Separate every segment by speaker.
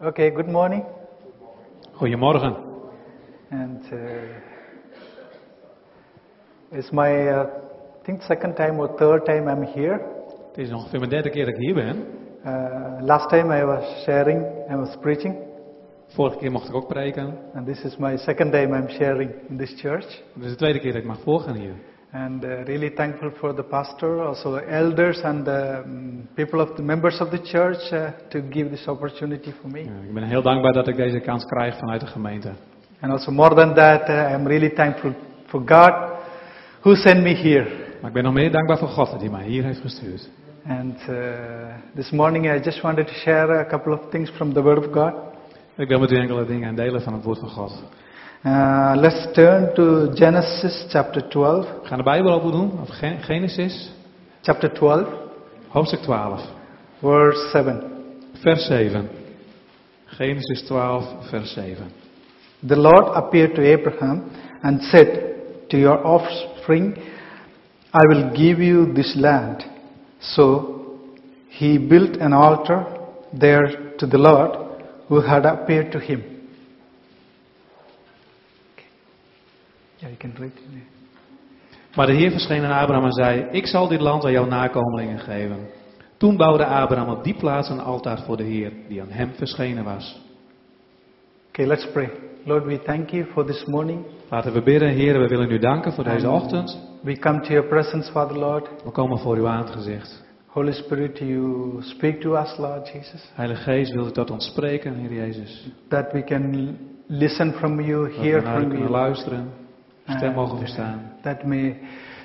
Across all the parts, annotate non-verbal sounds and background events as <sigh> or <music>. Speaker 1: Okay, good morning.
Speaker 2: Goedemorgen.
Speaker 1: And uh, it's my, uh, I think, second time or third time I'm here.
Speaker 2: Het is ongeveer mijn derde keer dat ik hier ben.
Speaker 1: Uh, last time I was sharing, I was preaching,
Speaker 2: Vorige keer mocht ik ook preken.
Speaker 1: and this is my second time I'm sharing in this church.
Speaker 2: Dit is de tweede keer dat ik mag voorgaan hier.
Speaker 1: And uh, really thankful for the pastor, also elders and um, people of the members of the church uh, to give this opportunity for me.
Speaker 2: Ja, ik ben heel dankbaar dat ik deze kans krijg vanuit de gemeente.
Speaker 1: And also more than that, uh, I'm really thankful for God who sent me here.
Speaker 2: Maar ik ben nog meer dankbaar voor God die mij hier heeft gestuurd.
Speaker 1: And uh, this morning I just wanted to share a couple of things from the Word of God.
Speaker 2: Ik wil met u enkele dingen aan delen van het woord van God.
Speaker 1: Uh, let's turn to Genesis chapter 12.
Speaker 2: We gaan de Bijbel open doen, of Gen- Genesis,
Speaker 1: Chapter 12,
Speaker 2: hoofdstuk 12,
Speaker 1: verse 7.
Speaker 2: vers 7. Genesis 12, vers 7.
Speaker 1: The Lord appeared to Abraham and said, To your offspring I will give you this land. So he built an altar there to the Lord who had appeared to him. Okay. Yeah, you can read it. there.
Speaker 2: Maar de Heer verscheen aan Abraham en zei: Ik zal dit land aan jouw nakomelingen geven. Toen bouwde Abraham op die plaats een altaar voor de Heer, die aan hem verschenen was.
Speaker 1: Okay, let's pray. Lord, we thank you for this morning.
Speaker 2: Laten we bidden, Heer, we willen u danken voor deze
Speaker 1: Amen.
Speaker 2: ochtend.
Speaker 1: We come to your presence, Father Lord.
Speaker 2: We komen voor uw aangezicht.
Speaker 1: Holy Spirit, you speak to us, Lord Jesus,
Speaker 2: Heilige Geest, wilt u tot ons spreken, Heer Jezus?
Speaker 1: that we can listen from you,
Speaker 2: Dat
Speaker 1: hear
Speaker 2: we naar u
Speaker 1: from
Speaker 2: kunnen
Speaker 1: you,
Speaker 2: luisteren, uw stem
Speaker 1: Amen.
Speaker 2: mogen verstaan.
Speaker 1: that may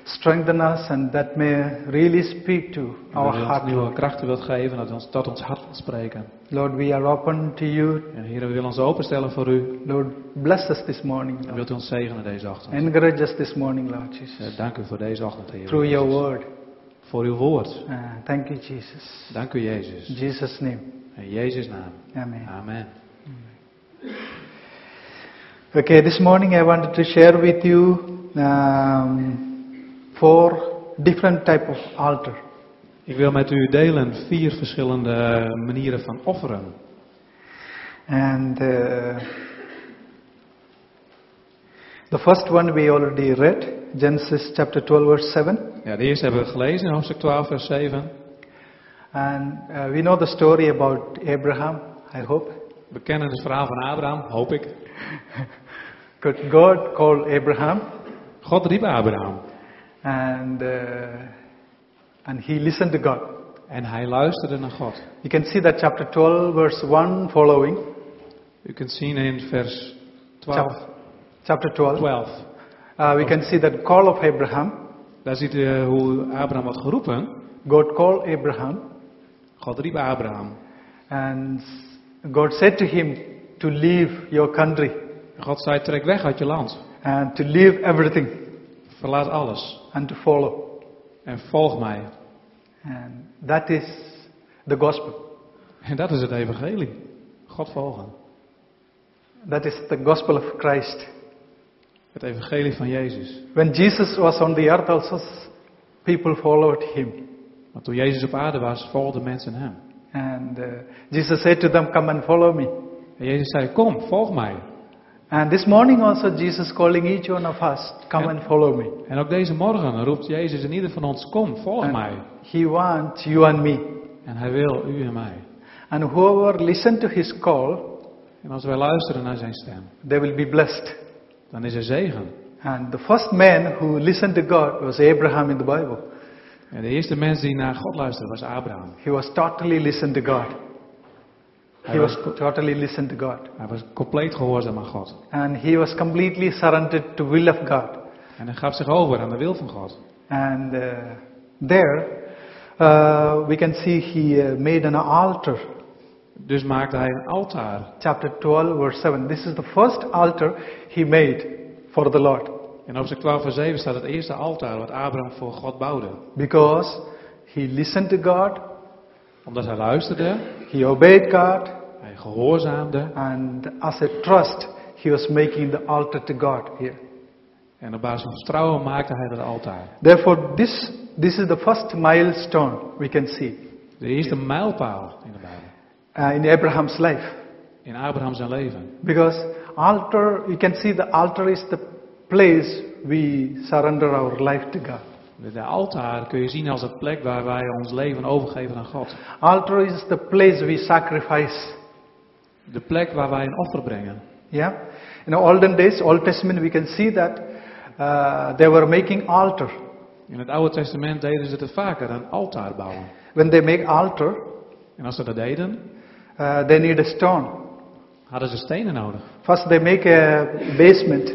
Speaker 1: strengthen us and that may really speak to our
Speaker 2: Dat u ons
Speaker 1: heart.
Speaker 2: nieuwe krachten wilt geven, dat u ons tot ons hart wilt spreken.
Speaker 1: Lord, we are open to you.
Speaker 2: En Heer, we willen ons openstellen voor u.
Speaker 1: Lord, bless us this morning,
Speaker 2: En
Speaker 1: Lord.
Speaker 2: wilt u ons zegenen deze ochtend.
Speaker 1: Encourage us this morning, Lord Jesus,
Speaker 2: Eh, Dank u voor deze ochtend, Heer.
Speaker 1: through your
Speaker 2: Jezus.
Speaker 1: word.
Speaker 2: Voor uw woord.
Speaker 1: Uh, thank you, Jesus.
Speaker 2: Dank u, Jezus.
Speaker 1: In Jesus' name.
Speaker 2: In Jezus' naam.
Speaker 1: Amen.
Speaker 2: Amen.
Speaker 1: Okay, this morning I wanted to share with you um, four different type of altar.
Speaker 2: Ik wil met u delen vier verschillende eh, manieren van offeren.
Speaker 1: And uh, the first one we already read, Genesis chapter 12 verse 7.
Speaker 2: Ja, de eerste hebben we gelezen in hoofdstuk 12, vers 7.
Speaker 1: And uh, we know the story about Abraham, I hope.
Speaker 2: We kennen het verhaal van Abraham, hoop ik.
Speaker 1: Good God called Abraham
Speaker 2: God riep Abraham
Speaker 1: and uh, and he listened to God.
Speaker 2: en hij luisterde naar God.
Speaker 1: You can see that chapter 12 verse 1 following.
Speaker 2: U kunt zien in vers 12.
Speaker 1: Chap- chapter 12.
Speaker 2: 12.
Speaker 1: Uh, we can see that call of Abraham.
Speaker 2: Daar ziet u eh, hoe Abraham wordt geroepen.
Speaker 1: God called Abraham
Speaker 2: God riep Abraham.
Speaker 1: and God said to him to leave your country
Speaker 2: God zei, trek weg uit je land.
Speaker 1: and to leave everything
Speaker 2: Verlaat alles
Speaker 1: and to follow.
Speaker 2: en volg mij.
Speaker 1: And that is the gospel.
Speaker 2: En dat is het evangelie. God volgen.
Speaker 1: That is the gospel of Christ.
Speaker 2: Het evangelie van Jezus.
Speaker 1: When Jesus was on the earth also s- people followed him.
Speaker 2: Want toen Jezus op aarde was, volgden mensen hem.
Speaker 1: And uh, Jesus said to them come and follow me.
Speaker 2: En Jezus zei, kom, volg mij.
Speaker 1: And this morning also Jesus calling each one of us come and follow me.
Speaker 2: En ook deze morgen roept Jezus in ieder van ons, kom, volg mij.
Speaker 1: He wants you and me.
Speaker 2: En hij wil u en mij.
Speaker 1: And whoever listen to his call,
Speaker 2: En als wij luisteren naar zijn stem,
Speaker 1: they will be blessed.
Speaker 2: dan is er zegen.
Speaker 1: And the first man who listened to God was Abraham in the Bible.
Speaker 2: En de eerste mens die naar God luisterde was Abraham.
Speaker 1: He was totally listened to God. He
Speaker 2: Hij
Speaker 1: was
Speaker 2: was,
Speaker 1: totally listened to God.
Speaker 2: hij was compleet gehoorzaam aan God.
Speaker 1: And he was completely surrendered to will of God.
Speaker 2: En hij gaf zich over aan de wil van God.
Speaker 1: And uh, there, uh, we can see he uh, made an altar.
Speaker 2: Dus maakte hij een altaar.
Speaker 1: Chapter 12, verse 7. This is the first altar he made for the Lord.
Speaker 2: In hoofdstuk 12 vers 7 staat het eerste altaar wat Abraham voor God bouwde.
Speaker 1: Because he listened to God,
Speaker 2: Omdat hij luisterde,
Speaker 1: he obeyed God,
Speaker 2: hij gehoorzaamde.
Speaker 1: And as a trust, he was making the altar to God here.
Speaker 2: En op basis van vertrouwen maakte hij dat altaar.
Speaker 1: Therefore, this, this is the first milestone we can see
Speaker 2: De eerste mijlpaal in de Bijbel.
Speaker 1: uh, in Abraham's life.
Speaker 2: in Abraham zijn leven.
Speaker 1: Because altar, you can see the altar is the place we surrender our life to God.
Speaker 2: De, de altaar kun je zien als een plek waar wij ons leven overgeven aan God.
Speaker 1: Altar is the place we sacrifice.
Speaker 2: De plek waar wij een offer brengen.
Speaker 1: Yeah, in the olden days, Old Testament, we can see that uh, they were making altar.
Speaker 2: In het Oude Testament deden ze het vaker, een altaar bouwen.
Speaker 1: When they make altar,
Speaker 2: En als ze dat deden,
Speaker 1: uh, they need a stone.
Speaker 2: hadden ze stenen nodig.
Speaker 1: First, they make a basement,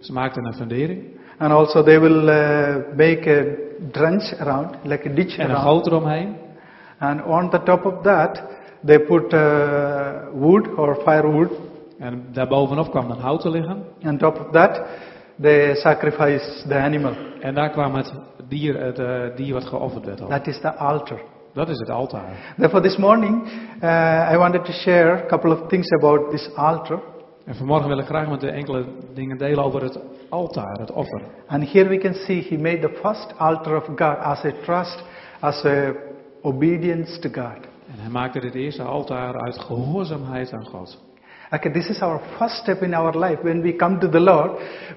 Speaker 2: Ze maakten een fundering
Speaker 1: and also they will uh, make a trench around, like a ditch
Speaker 2: en een
Speaker 1: around.
Speaker 2: goot eromheen.
Speaker 1: And on the top of that, they put uh, wood or firewood.
Speaker 2: En daarbovenop kwam dan hout te liggen.
Speaker 1: On top of that, they sacrifice the animal.
Speaker 2: En daar kwam het dier, het eh, dier wat geofferd werd op.
Speaker 1: That is the altar.
Speaker 2: Dat is het altaar.
Speaker 1: Therefore, this morning, uh, I wanted to share a couple of things about this altar.
Speaker 2: En vanmorgen wil ik graag met de enkele dingen delen over het altaar, het offer.
Speaker 1: And here we can see he made the first altar of God as a trust, as a obedience to God.
Speaker 2: En hij maakte dit eerste altaar uit gehoorzaamheid aan God.
Speaker 1: Okay, this is our first step in our life. When we come to the Lord,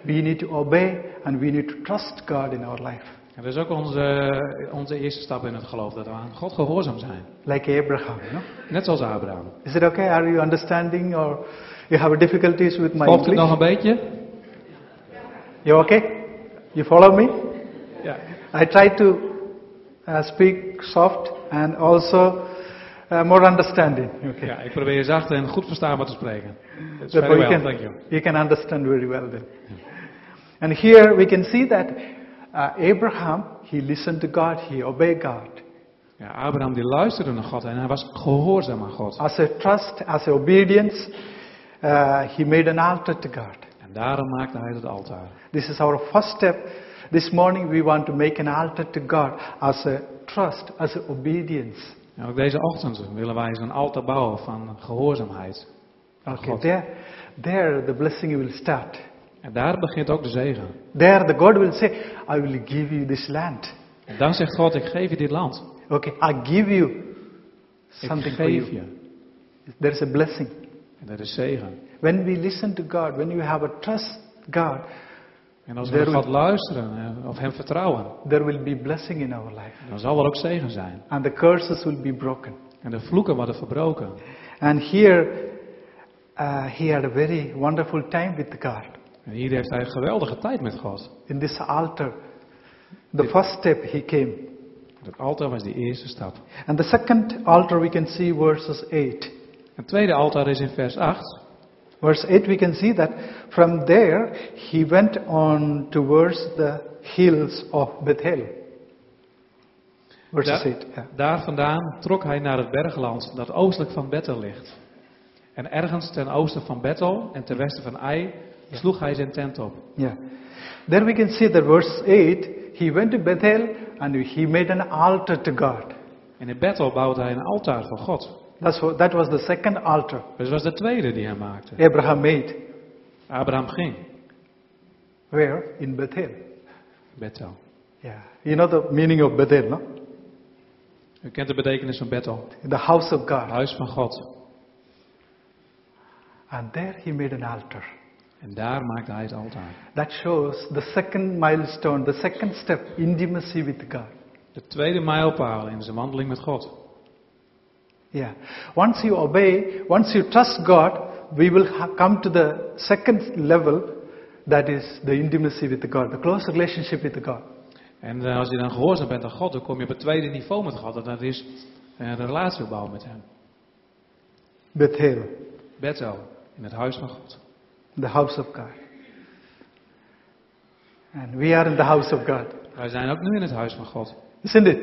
Speaker 1: we need to obey and we need to trust God in our life.
Speaker 2: En dat is ook onze, onze eerste stap in het geloof, dat we aan God gehoorzaam zijn.
Speaker 1: Like Abraham, no?
Speaker 2: Net zoals Abraham.
Speaker 1: Is it okay? Are you understanding or you have difficulties with my
Speaker 2: Klopt het nog
Speaker 1: English?
Speaker 2: een beetje?
Speaker 1: You okay? You follow me?
Speaker 2: Ja.
Speaker 1: I try to uh, speak soft and also uh, more understanding. Okay.
Speaker 2: ja, ik probeer zacht en goed verstaanbaar te spreken. That's
Speaker 1: Therefore,
Speaker 2: very
Speaker 1: you
Speaker 2: well,
Speaker 1: can,
Speaker 2: thank you.
Speaker 1: you can understand very well then. And here we can see that uh, Abraham, he listened to God, he obeyed God.
Speaker 2: Ja, Abraham die luisterde naar God en hij was gehoorzaam aan God.
Speaker 1: As a trust, as a obedience, uh, he made an altar to God.
Speaker 2: En daarom maakte hij het altaar.
Speaker 1: This is our first step. This morning we want to make an altar to God as a trust, as a obedience.
Speaker 2: En ook deze ochtend willen wij zo'n altaar bouwen van gehoorzaamheid aan
Speaker 1: Okay,
Speaker 2: God.
Speaker 1: there, there the blessing will start.
Speaker 2: En daar begint ook de zegen.
Speaker 1: There the God will say, I will give you this land.
Speaker 2: En dan zegt God, ik geef je dit land.
Speaker 1: Okay, I give you
Speaker 2: Ik
Speaker 1: something for
Speaker 2: geef
Speaker 1: you.
Speaker 2: je.
Speaker 1: There is a blessing.
Speaker 2: En dat is zegen.
Speaker 1: When we listen to God, when you have a trust God,
Speaker 2: En als we naar
Speaker 1: There
Speaker 2: God luisteren eh, of hem vertrouwen,
Speaker 1: there will be blessing in our life.
Speaker 2: dan zal er ook zegen zijn.
Speaker 1: And the curses will be broken.
Speaker 2: En de vloeken worden verbroken.
Speaker 1: And here, uh, he had a very wonderful time with God.
Speaker 2: En hier heeft hij een geweldige tijd met God.
Speaker 1: In this altar, the first step he came.
Speaker 2: Dat altaar was die eerste stap.
Speaker 1: And the second altar we can see verses 8.
Speaker 2: Het tweede altaar is in vers 8.
Speaker 1: Verse 8, we can see that from there he went on towards the hills of Bethel. Verse
Speaker 2: Da-
Speaker 1: 8. yeah.
Speaker 2: Daar vandaan trok hij naar het bergland dat oostelijk van Bethel ligt. En ergens ten oosten van Bethel en ten westen van Ai sloeg hij zijn tent op.
Speaker 1: Yeah. There we can see that verse 8, he went to Bethel and he made an altar to God.
Speaker 2: En in Bethel bouwde hij een altaar voor God.
Speaker 1: That's what, that was the second altar
Speaker 2: Dus dat was de tweede die hij maakte.
Speaker 1: Abraham made.
Speaker 2: Abraham ging.
Speaker 1: Where? In Bethel.
Speaker 2: Bethel.
Speaker 1: Yeah. You know the meaning of Bethel, no?
Speaker 2: U kent de betekenis van Bethel.
Speaker 1: The house of
Speaker 2: Het
Speaker 1: God.
Speaker 2: huis van God.
Speaker 1: And there he made an altar.
Speaker 2: En daar maakte hij het altaar.
Speaker 1: That shows the second milestone, the second step, intimacy with God.
Speaker 2: De tweede mijlpaal in zijn wandeling met God.
Speaker 1: Yeah. Once you obey, once you trust God, we will ha- come to the second level, that is the intimacy with God, the close relationship with God.
Speaker 2: En eh, als je dan gehoorzaam bent aan God, dan kom je op het tweede niveau met God. En dat is een relatie opbouwen met hem.
Speaker 1: Bethel,
Speaker 2: Bethel, in het huis van God.
Speaker 1: the house of God. And we are in the house of God,
Speaker 2: Wij zijn ook nu in het huis van God.
Speaker 1: isn't it?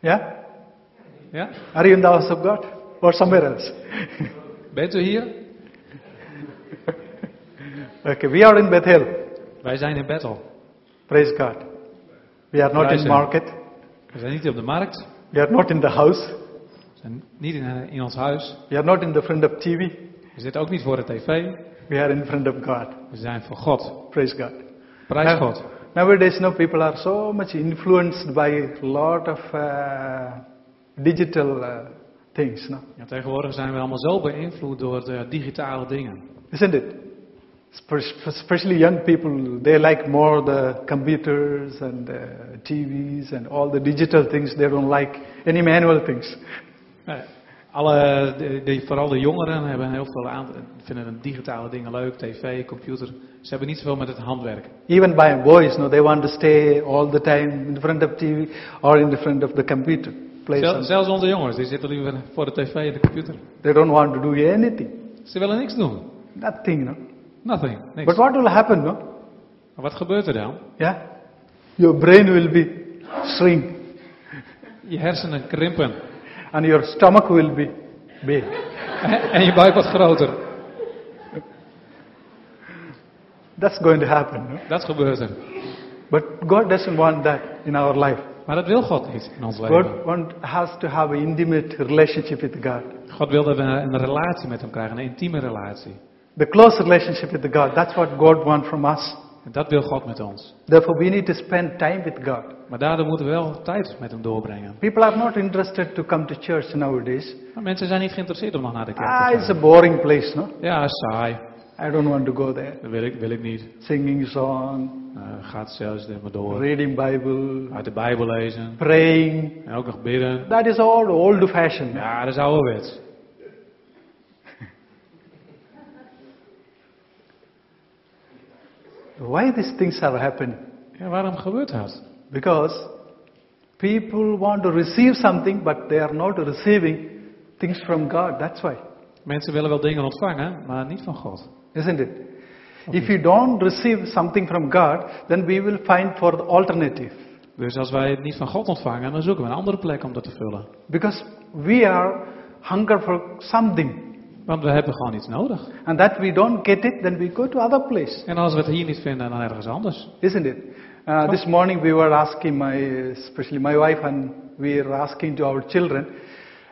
Speaker 1: Yeah?
Speaker 2: Ja?
Speaker 1: Are you in the house of God or somewhere else? <laughs>
Speaker 2: Bent u hier?
Speaker 1: okay, we are in Bethel.
Speaker 2: Wij zijn in Bethel.
Speaker 1: Praise God. We are not
Speaker 2: Praise
Speaker 1: in
Speaker 2: Him.
Speaker 1: market.
Speaker 2: We zijn niet op de markt.
Speaker 1: We are not in the house.
Speaker 2: We zijn niet in, eh, in ons huis.
Speaker 1: We are not in the front of TV.
Speaker 2: We zitten ook niet voor de tv.
Speaker 1: We are in front of God.
Speaker 2: We zijn voor God.
Speaker 1: Praise God.
Speaker 2: Prijs
Speaker 1: Now-
Speaker 2: God.
Speaker 1: Nowadays, now people are so much influenced by a lot of uh, digital uh, things now,
Speaker 2: Ja, tegenwoordig zijn we allemaal zo beïnvloed door de eh, digitale dingen.
Speaker 1: isn't it? Spe- Especially young people, they like more the computers and the TVs and all the digital things. They don't like any manual things.
Speaker 2: Eh, Alle, de, de- vooral de jongeren hebben heel veel aan, vinden de digitale dingen leuk, tv, computer. Ze hebben niet zoveel met het handwerk.
Speaker 1: Even by voice, no, they want to stay all the time in front of TV or in front of the computer. Play
Speaker 2: Zel-
Speaker 1: some-
Speaker 2: zelfs onze jongens, die zitten liever voor de tv en de computer.
Speaker 1: They don't want to do anything,
Speaker 2: Ze willen niks doen.
Speaker 1: nothing. No?
Speaker 2: Nothing. Niks.
Speaker 1: But what will happen? No?
Speaker 2: Maar wat gebeurt er dan?
Speaker 1: Yeah, your brain will be shrink
Speaker 2: Je hersenen krimpen. <laughs>
Speaker 1: and your stomach will be big.
Speaker 2: en je buik wordt groter.
Speaker 1: That's going to happen. No?
Speaker 2: Dat gebeurt er.
Speaker 1: But God doesn't want that in our life.
Speaker 2: Maar dat wil God niet in ons leven.
Speaker 1: God want, has to have an intimate relationship with God.
Speaker 2: God wil dat we een relatie met hem krijgen, een intieme relatie.
Speaker 1: The close relationship with God, that's what God wants from us.
Speaker 2: En dat wil God met ons.
Speaker 1: Therefore, we need to spend time with God.
Speaker 2: Maar daardoor moeten we wel tijd met hem doorbrengen.
Speaker 1: People are not interested to come to church nowadays.
Speaker 2: Maar mensen zijn niet geïnteresseerd om nog naar de kerk
Speaker 1: Ah,
Speaker 2: te
Speaker 1: it's a
Speaker 2: gaan.
Speaker 1: boring place, no?
Speaker 2: Ja, saai.
Speaker 1: I don't want to go there.
Speaker 2: Dat wil ik, wil ik niet.
Speaker 1: Singing song,
Speaker 2: Eh gaat zelfs maar door.
Speaker 1: reading Bible,
Speaker 2: Uit de Bijbel lezen.
Speaker 1: praying.
Speaker 2: En ook nog bidden.
Speaker 1: That is all old fashioned.
Speaker 2: Ja, dat is ouderwets.
Speaker 1: Why these things are happening?
Speaker 2: Ja, waarom gebeurt dat?
Speaker 1: Because people want to receive something, but they are not receiving things from God. That's why.
Speaker 2: Mensen willen wel dingen ontvangen, maar niet van God.
Speaker 1: Isn't it? If you don't receive something from God, then we will find for the alternative.
Speaker 2: Dus als wij het niet van God ontvangen, dan zoeken we een andere plek om dat te vullen.
Speaker 1: Because we are hunger for something.
Speaker 2: Want we hebben gewoon iets nodig.
Speaker 1: And that we don't get it, then we go to other place.
Speaker 2: En als we het hier niet vinden, dan ergens anders.
Speaker 1: Isn't it? Uh, this morning we were asking my, especially my wife and we were asking to our children,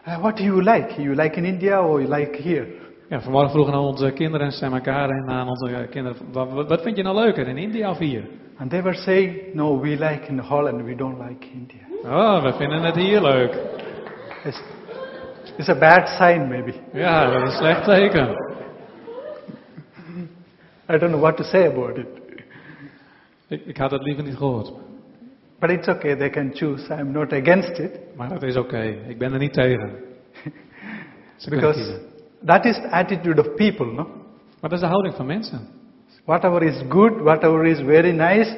Speaker 1: uh, what do you like? You like in India or you like here?
Speaker 2: Ja, vanmorgen vroegen aan onze kinderen en ze aan elkaar en aan onze eh, kinderen: wat, wat- wat vind je nou leuker, in India of hier?
Speaker 1: And they were saying, no, we like in Holland, we don't like India.
Speaker 2: Oh, we vinden het hier leuk.
Speaker 1: It's, it's a bad sign maybe.
Speaker 2: Ja, dat is een slecht teken.
Speaker 1: I don't know what to say about it.
Speaker 2: Ik, ik had het liever niet gehoord.
Speaker 1: But it's okay, they can choose. I'm not against it
Speaker 2: Maar dat is oké, ik ben er niet tegen. Ze kunnen
Speaker 1: because
Speaker 2: kiezen.
Speaker 1: that is the attitude of people, no?
Speaker 2: Maar dat is de houding van mensen.
Speaker 1: Whatever is good, whatever is very nice,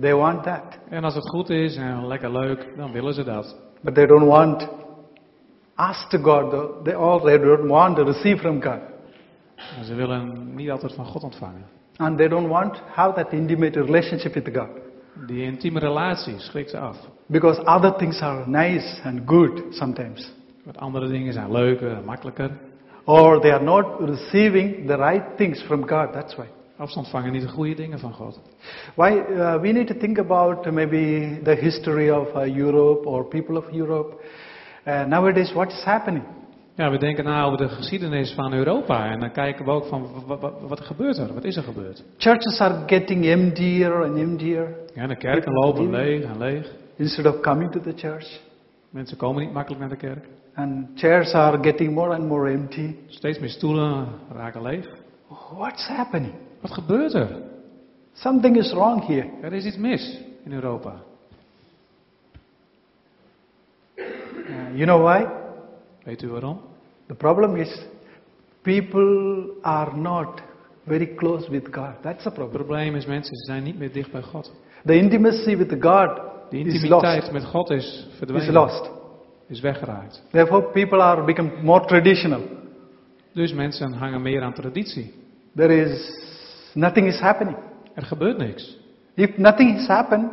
Speaker 1: they want that.
Speaker 2: En als het goed is en lekker leuk, dan willen ze dat.
Speaker 1: But they don't want ask to God though. They all they don't want to receive from God.
Speaker 2: Maar ze willen niet altijd van God ontvangen.
Speaker 1: And they don't want to have that intimate relationship with God.
Speaker 2: Die intieme relatie schrikt ze af.
Speaker 1: Because other things are nice and good sometimes.
Speaker 2: Want andere dingen zijn leuker en makkelijker.
Speaker 1: Or they are not receiving the right things from God, that's why.
Speaker 2: Of ze ontvangen niet de goede dingen van God.
Speaker 1: Why uh, we need to think about maybe the history of uh, Europe or people of Europe. Uh, nowadays, what's happening?
Speaker 2: Ja, we denken na over de geschiedenis van Europa. En dan kijken we ook van wa- wa- wat gebeurt er? Wat is er gebeurd?
Speaker 1: Churches are getting emptier and emptier
Speaker 2: Ja, de kerken lopen leeg en leeg.
Speaker 1: instead of coming to the church,
Speaker 2: Mensen komen niet makkelijk naar de kerk.
Speaker 1: and chairs are getting more and more empty.
Speaker 2: Steeds meer stoelen raken leeg.
Speaker 1: What's happening?
Speaker 2: Wat gebeurt er?
Speaker 1: Something is wrong here.
Speaker 2: Er is iets mis in Europa.
Speaker 1: Uh, you know why?
Speaker 2: Weet u waarom?
Speaker 1: The problem is people are not very close with God. That's the
Speaker 2: Het
Speaker 1: problem.
Speaker 2: probleem is mensen zijn niet meer dicht bij God.
Speaker 1: The intimacy with God
Speaker 2: De
Speaker 1: is lost.
Speaker 2: intimiteit met God is
Speaker 1: Is
Speaker 2: verdwenen.
Speaker 1: lost.
Speaker 2: Is weggeraakt.
Speaker 1: Therefore, people are become more traditional.
Speaker 2: Dus mensen hangen meer aan traditie.
Speaker 1: There is nothing is happening.
Speaker 2: Er gebeurt niks.
Speaker 1: If nothing has happened,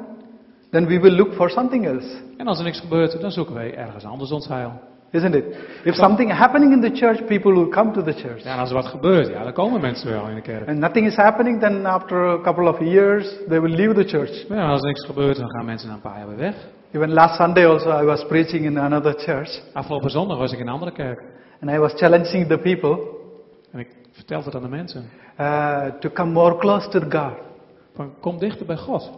Speaker 1: then we will look for something else,
Speaker 2: En als er niks gebeurt, dan zoeken wij ergens anders ons heil.
Speaker 1: isn't it? If something happening in the church, people will come to the church.
Speaker 2: Ja, en als er wat gebeurt, ja, dan komen mensen wel in de kerk.
Speaker 1: And nothing is happening, then after a couple of years, they will leave the church.
Speaker 2: Maar ja, als er niks gebeurt, dan gaan mensen na een paar jaar weer weg.
Speaker 1: Even last Sunday also, I was preaching in another church,
Speaker 2: Afgelopen zondag was ik in een andere kerk.
Speaker 1: and I was challenging the people
Speaker 2: En ik vertelde het aan de mensen.
Speaker 1: uh, to come more close to God,
Speaker 2: Van, kom dichter bij God.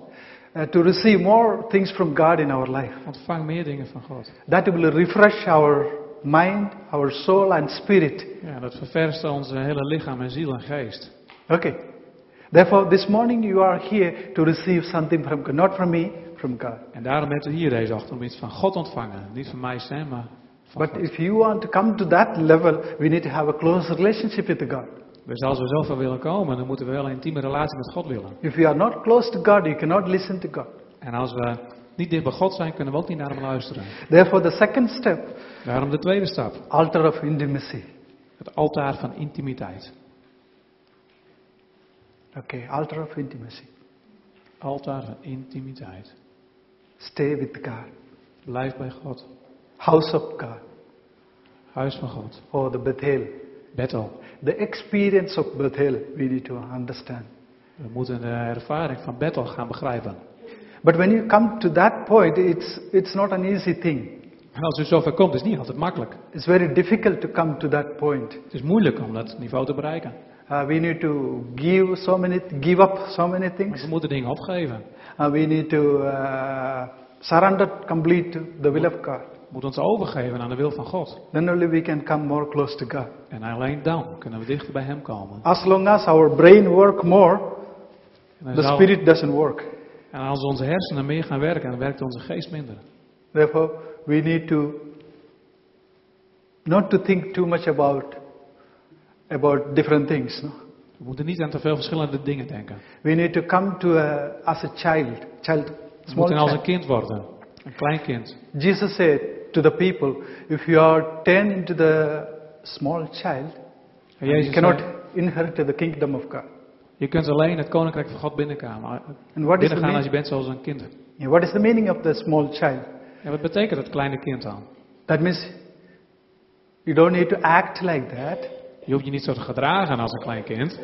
Speaker 1: uh, to receive more things from God in our life.
Speaker 2: Ontvang meer dingen van God.
Speaker 1: That will refresh our mind, our soul, and spirit.
Speaker 2: Ja, dat ververst ons hele lichaam en ziel en geest.
Speaker 1: Okay. Therefore, this morning you are here to receive something from God, not from me, from God.
Speaker 2: En daarom hebt u hier deze ochtend om iets van God ontvangen. Niet van mij, Sam, maar van
Speaker 1: But
Speaker 2: God.
Speaker 1: if you want to come to that level, we need to have a close relationship with God.
Speaker 2: Dus als we zoveel willen komen, dan moeten we wel een intieme relatie met God willen.
Speaker 1: If you are not close to God, you cannot listen to God.
Speaker 2: En als we niet dicht bij God zijn, kunnen we ook niet naar hem luisteren.
Speaker 1: Therefore, the second step,
Speaker 2: Daarom de tweede stap.
Speaker 1: altar of intimacy.
Speaker 2: Het altaar van intimiteit.
Speaker 1: Okay, altar of intimacy.
Speaker 2: Altaar van intimiteit.
Speaker 1: Stay with God.
Speaker 2: Blijf bij God.
Speaker 1: House of God
Speaker 2: Huis van God.
Speaker 1: or the Bethel.
Speaker 2: Bethel.
Speaker 1: The experience of Bethel we need to understand.
Speaker 2: We moeten de ervaring van Bethel gaan begrijpen.
Speaker 1: But when you come to that point, it's, it's not an easy thing.
Speaker 2: En als u zover komt, is het niet altijd makkelijk.
Speaker 1: It's very difficult to come to that point.
Speaker 2: Het is moeilijk om dat niveau te bereiken.
Speaker 1: Uh, we need to give so many, give up so many things.
Speaker 2: We moeten dingen opgeven.
Speaker 1: Uh, we need to uh, surrender complete to the will of God.
Speaker 2: We moeten ons overgeven aan de wil van God.
Speaker 1: Then only we can come more close to God.
Speaker 2: En alleen dan kunnen we dichter bij Hem komen.
Speaker 1: As long as our brain work more,
Speaker 2: En, dan
Speaker 1: the
Speaker 2: zal-
Speaker 1: spirit doesn't work.
Speaker 2: en als onze hersenen meer gaan werken, dan werkt onze geest minder.
Speaker 1: Therefore, we need to not to think too much about about different things. No?
Speaker 2: We moeten niet aan te veel verschillende dingen denken.
Speaker 1: We need to come to a, as a child, child,
Speaker 2: We
Speaker 1: small
Speaker 2: moeten als een
Speaker 1: child.
Speaker 2: kind worden. Een klein kind.
Speaker 1: Jesus said to the people, if you are turned into the small child,
Speaker 2: En
Speaker 1: you
Speaker 2: Jezus
Speaker 1: cannot
Speaker 2: zei,
Speaker 1: inherit the kingdom of God.
Speaker 2: je kunt alleen het koninkrijk van God binnenkomen.
Speaker 1: And what is, the
Speaker 2: Binnengaan als
Speaker 1: mean,
Speaker 2: je bent zoals een kind.
Speaker 1: yeah, what is the meaning of the small child?
Speaker 2: En wat betekent dat kleine kind dan?
Speaker 1: That means you don't need to act like that,
Speaker 2: Je hoeft je niet zo te gedragen als een klein kind.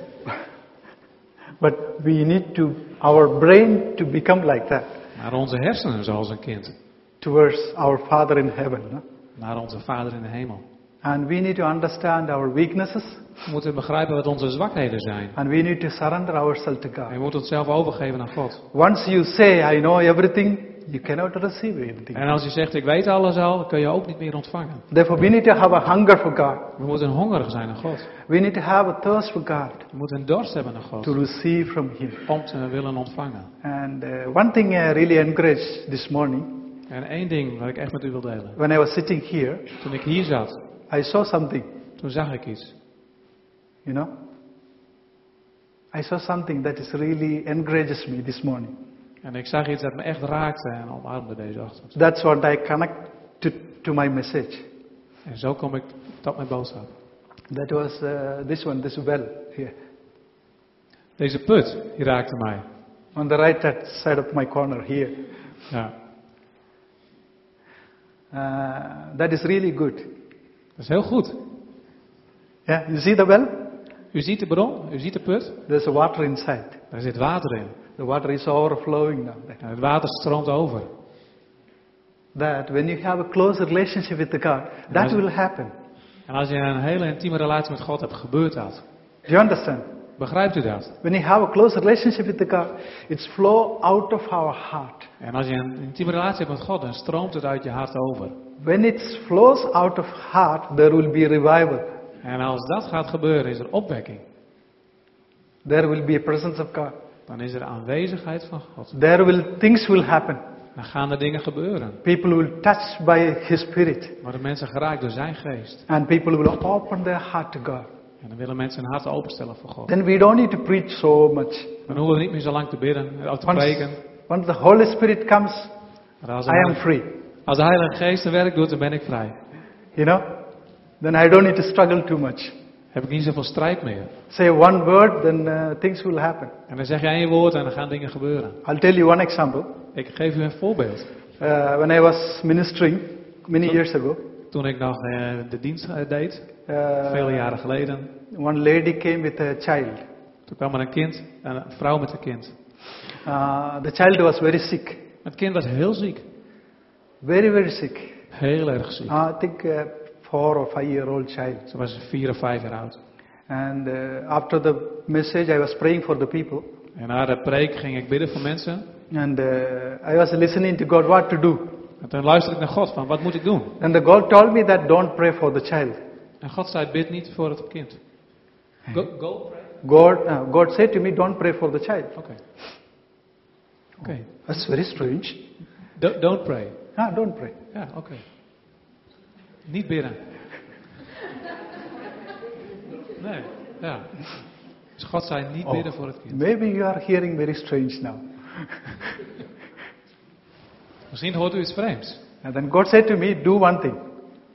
Speaker 1: but we need to, our brain to become like that
Speaker 2: Maar onze hersenen zoals een kind.
Speaker 1: towards our Father in heaven. no?
Speaker 2: Naar onze Vader in de hemel.
Speaker 1: And we need to understand our weaknesses
Speaker 2: We moeten begrijpen wat onze zwakheden zijn.
Speaker 1: and we need to surrender ourselves to
Speaker 2: En
Speaker 1: God.
Speaker 2: we moeten onszelf overgeven aan God.
Speaker 1: Once you say, I know everything, you cannot receive everything.
Speaker 2: En als je zegt, ik weet alles al, kun je ook niet meer ontvangen.
Speaker 1: Therefore, we need to have a hunger for God.
Speaker 2: We moeten hongerig zijn naar God.
Speaker 1: We need to have a thirst for God
Speaker 2: We moeten een dorst hebben naar God.
Speaker 1: to receive from Him.
Speaker 2: Om te willen ontvangen.
Speaker 1: And uh, one thing I really encouraged this morning,
Speaker 2: En één ding wat ik echt met u wil delen.
Speaker 1: when I was sitting here,
Speaker 2: Toen ik hier zat,
Speaker 1: I saw something,
Speaker 2: toen zag ik iets.
Speaker 1: you know. I saw something that is really encourages me this morning.
Speaker 2: En ik zag iets dat me echt raakte en omarmde deze ochtend.
Speaker 1: That's what I connect to, to my message.
Speaker 2: En zo kom ik tot mijn boodschap.
Speaker 1: That was uh, this one, this well here,
Speaker 2: Deze put, die raakte mij.
Speaker 1: on the right hand side of my corner here.
Speaker 2: Ja,
Speaker 1: Uh, that is really good.
Speaker 2: dat is heel goed.
Speaker 1: Yeah, you see the well?
Speaker 2: U ziet de bron, u ziet de put.
Speaker 1: There's water inside.
Speaker 2: Daar zit water in.
Speaker 1: The water is overflowing now.
Speaker 2: En het water stroomt over.
Speaker 1: That when you have a close relationship with God, that
Speaker 2: Yes.
Speaker 1: will happen.
Speaker 2: En als je een hele intieme relatie met God hebt, gebeurt dat.
Speaker 1: Do you understand?
Speaker 2: Begrijpt u dat?
Speaker 1: When you have a close relationship with God, it's flow out of our heart.
Speaker 2: En als je een intieme relatie hebt met God, dan stroomt het uit je hart over.
Speaker 1: When it flows out of heart, there will be revival.
Speaker 2: En als dat gaat gebeuren, is er opwekking.
Speaker 1: There will be a presence of God.
Speaker 2: Dan is er aanwezigheid van God.
Speaker 1: There will things will happen.
Speaker 2: Dan gaan er dingen gebeuren.
Speaker 1: People will touched by His Spirit,
Speaker 2: Worden mensen geraakt door zijn geest.
Speaker 1: and people will open their heart to God.
Speaker 2: En dan willen mensen hun hart openstellen voor God.
Speaker 1: Then we don't need to preach so much.
Speaker 2: Dan hoeven we niet meer zo lang te bidden, of te
Speaker 1: Once,
Speaker 2: preken.
Speaker 1: once the Holy Spirit comes,
Speaker 2: Maar als,
Speaker 1: I am
Speaker 2: de,
Speaker 1: free.
Speaker 2: als de Heilige Geest zijn werk doet, dan ben ik vrij.
Speaker 1: You know, then I don't need to struggle too much.
Speaker 2: Heb ik niet zoveel strijd meer.
Speaker 1: Say one word, then uh, things will happen.
Speaker 2: En dan zeg je één woord en dan gaan dingen gebeuren.
Speaker 1: I'll tell you one example.
Speaker 2: Ik geef u een voorbeeld.
Speaker 1: Uh, when I was ministering many years ago,
Speaker 2: Toen ik nog eh, de dienst eh, deed, vele
Speaker 1: uh,
Speaker 2: jaren geleden,
Speaker 1: one lady came with a child.
Speaker 2: toen kwam er een kind, een vrouw met een kind.
Speaker 1: Uh, the child was very sick,
Speaker 2: Het kind was heel ziek.
Speaker 1: very, very sick.
Speaker 2: Heel erg ziek.
Speaker 1: Uh, I think uh, four or five year old child.
Speaker 2: Ze was vier of vijf jaar oud.
Speaker 1: And uh, after the message, I was praying for the people.
Speaker 2: En na de preek ging ik bidden voor mensen.
Speaker 1: And uh, I was listening to God what to do.
Speaker 2: En En toen luister ik naar God van, wat moet ik doen?
Speaker 1: And the God told me that don't pray for the child.
Speaker 2: En God zei, bid niet voor het kind. Go, go pray. Oké.
Speaker 1: God, uh, God said to me, don't pray for the child.
Speaker 2: Oké.
Speaker 1: That's very strange.
Speaker 2: Do- don't pray.
Speaker 1: Ah, don't pray.
Speaker 2: Ja, oké. Niet bidden. Nee, ja. Dus God zei, niet bidden voor het kind.
Speaker 1: Maybe you are hearing very strange now.
Speaker 2: Misschien hoort u iets vreemds.
Speaker 1: And then God said to me, do one thing.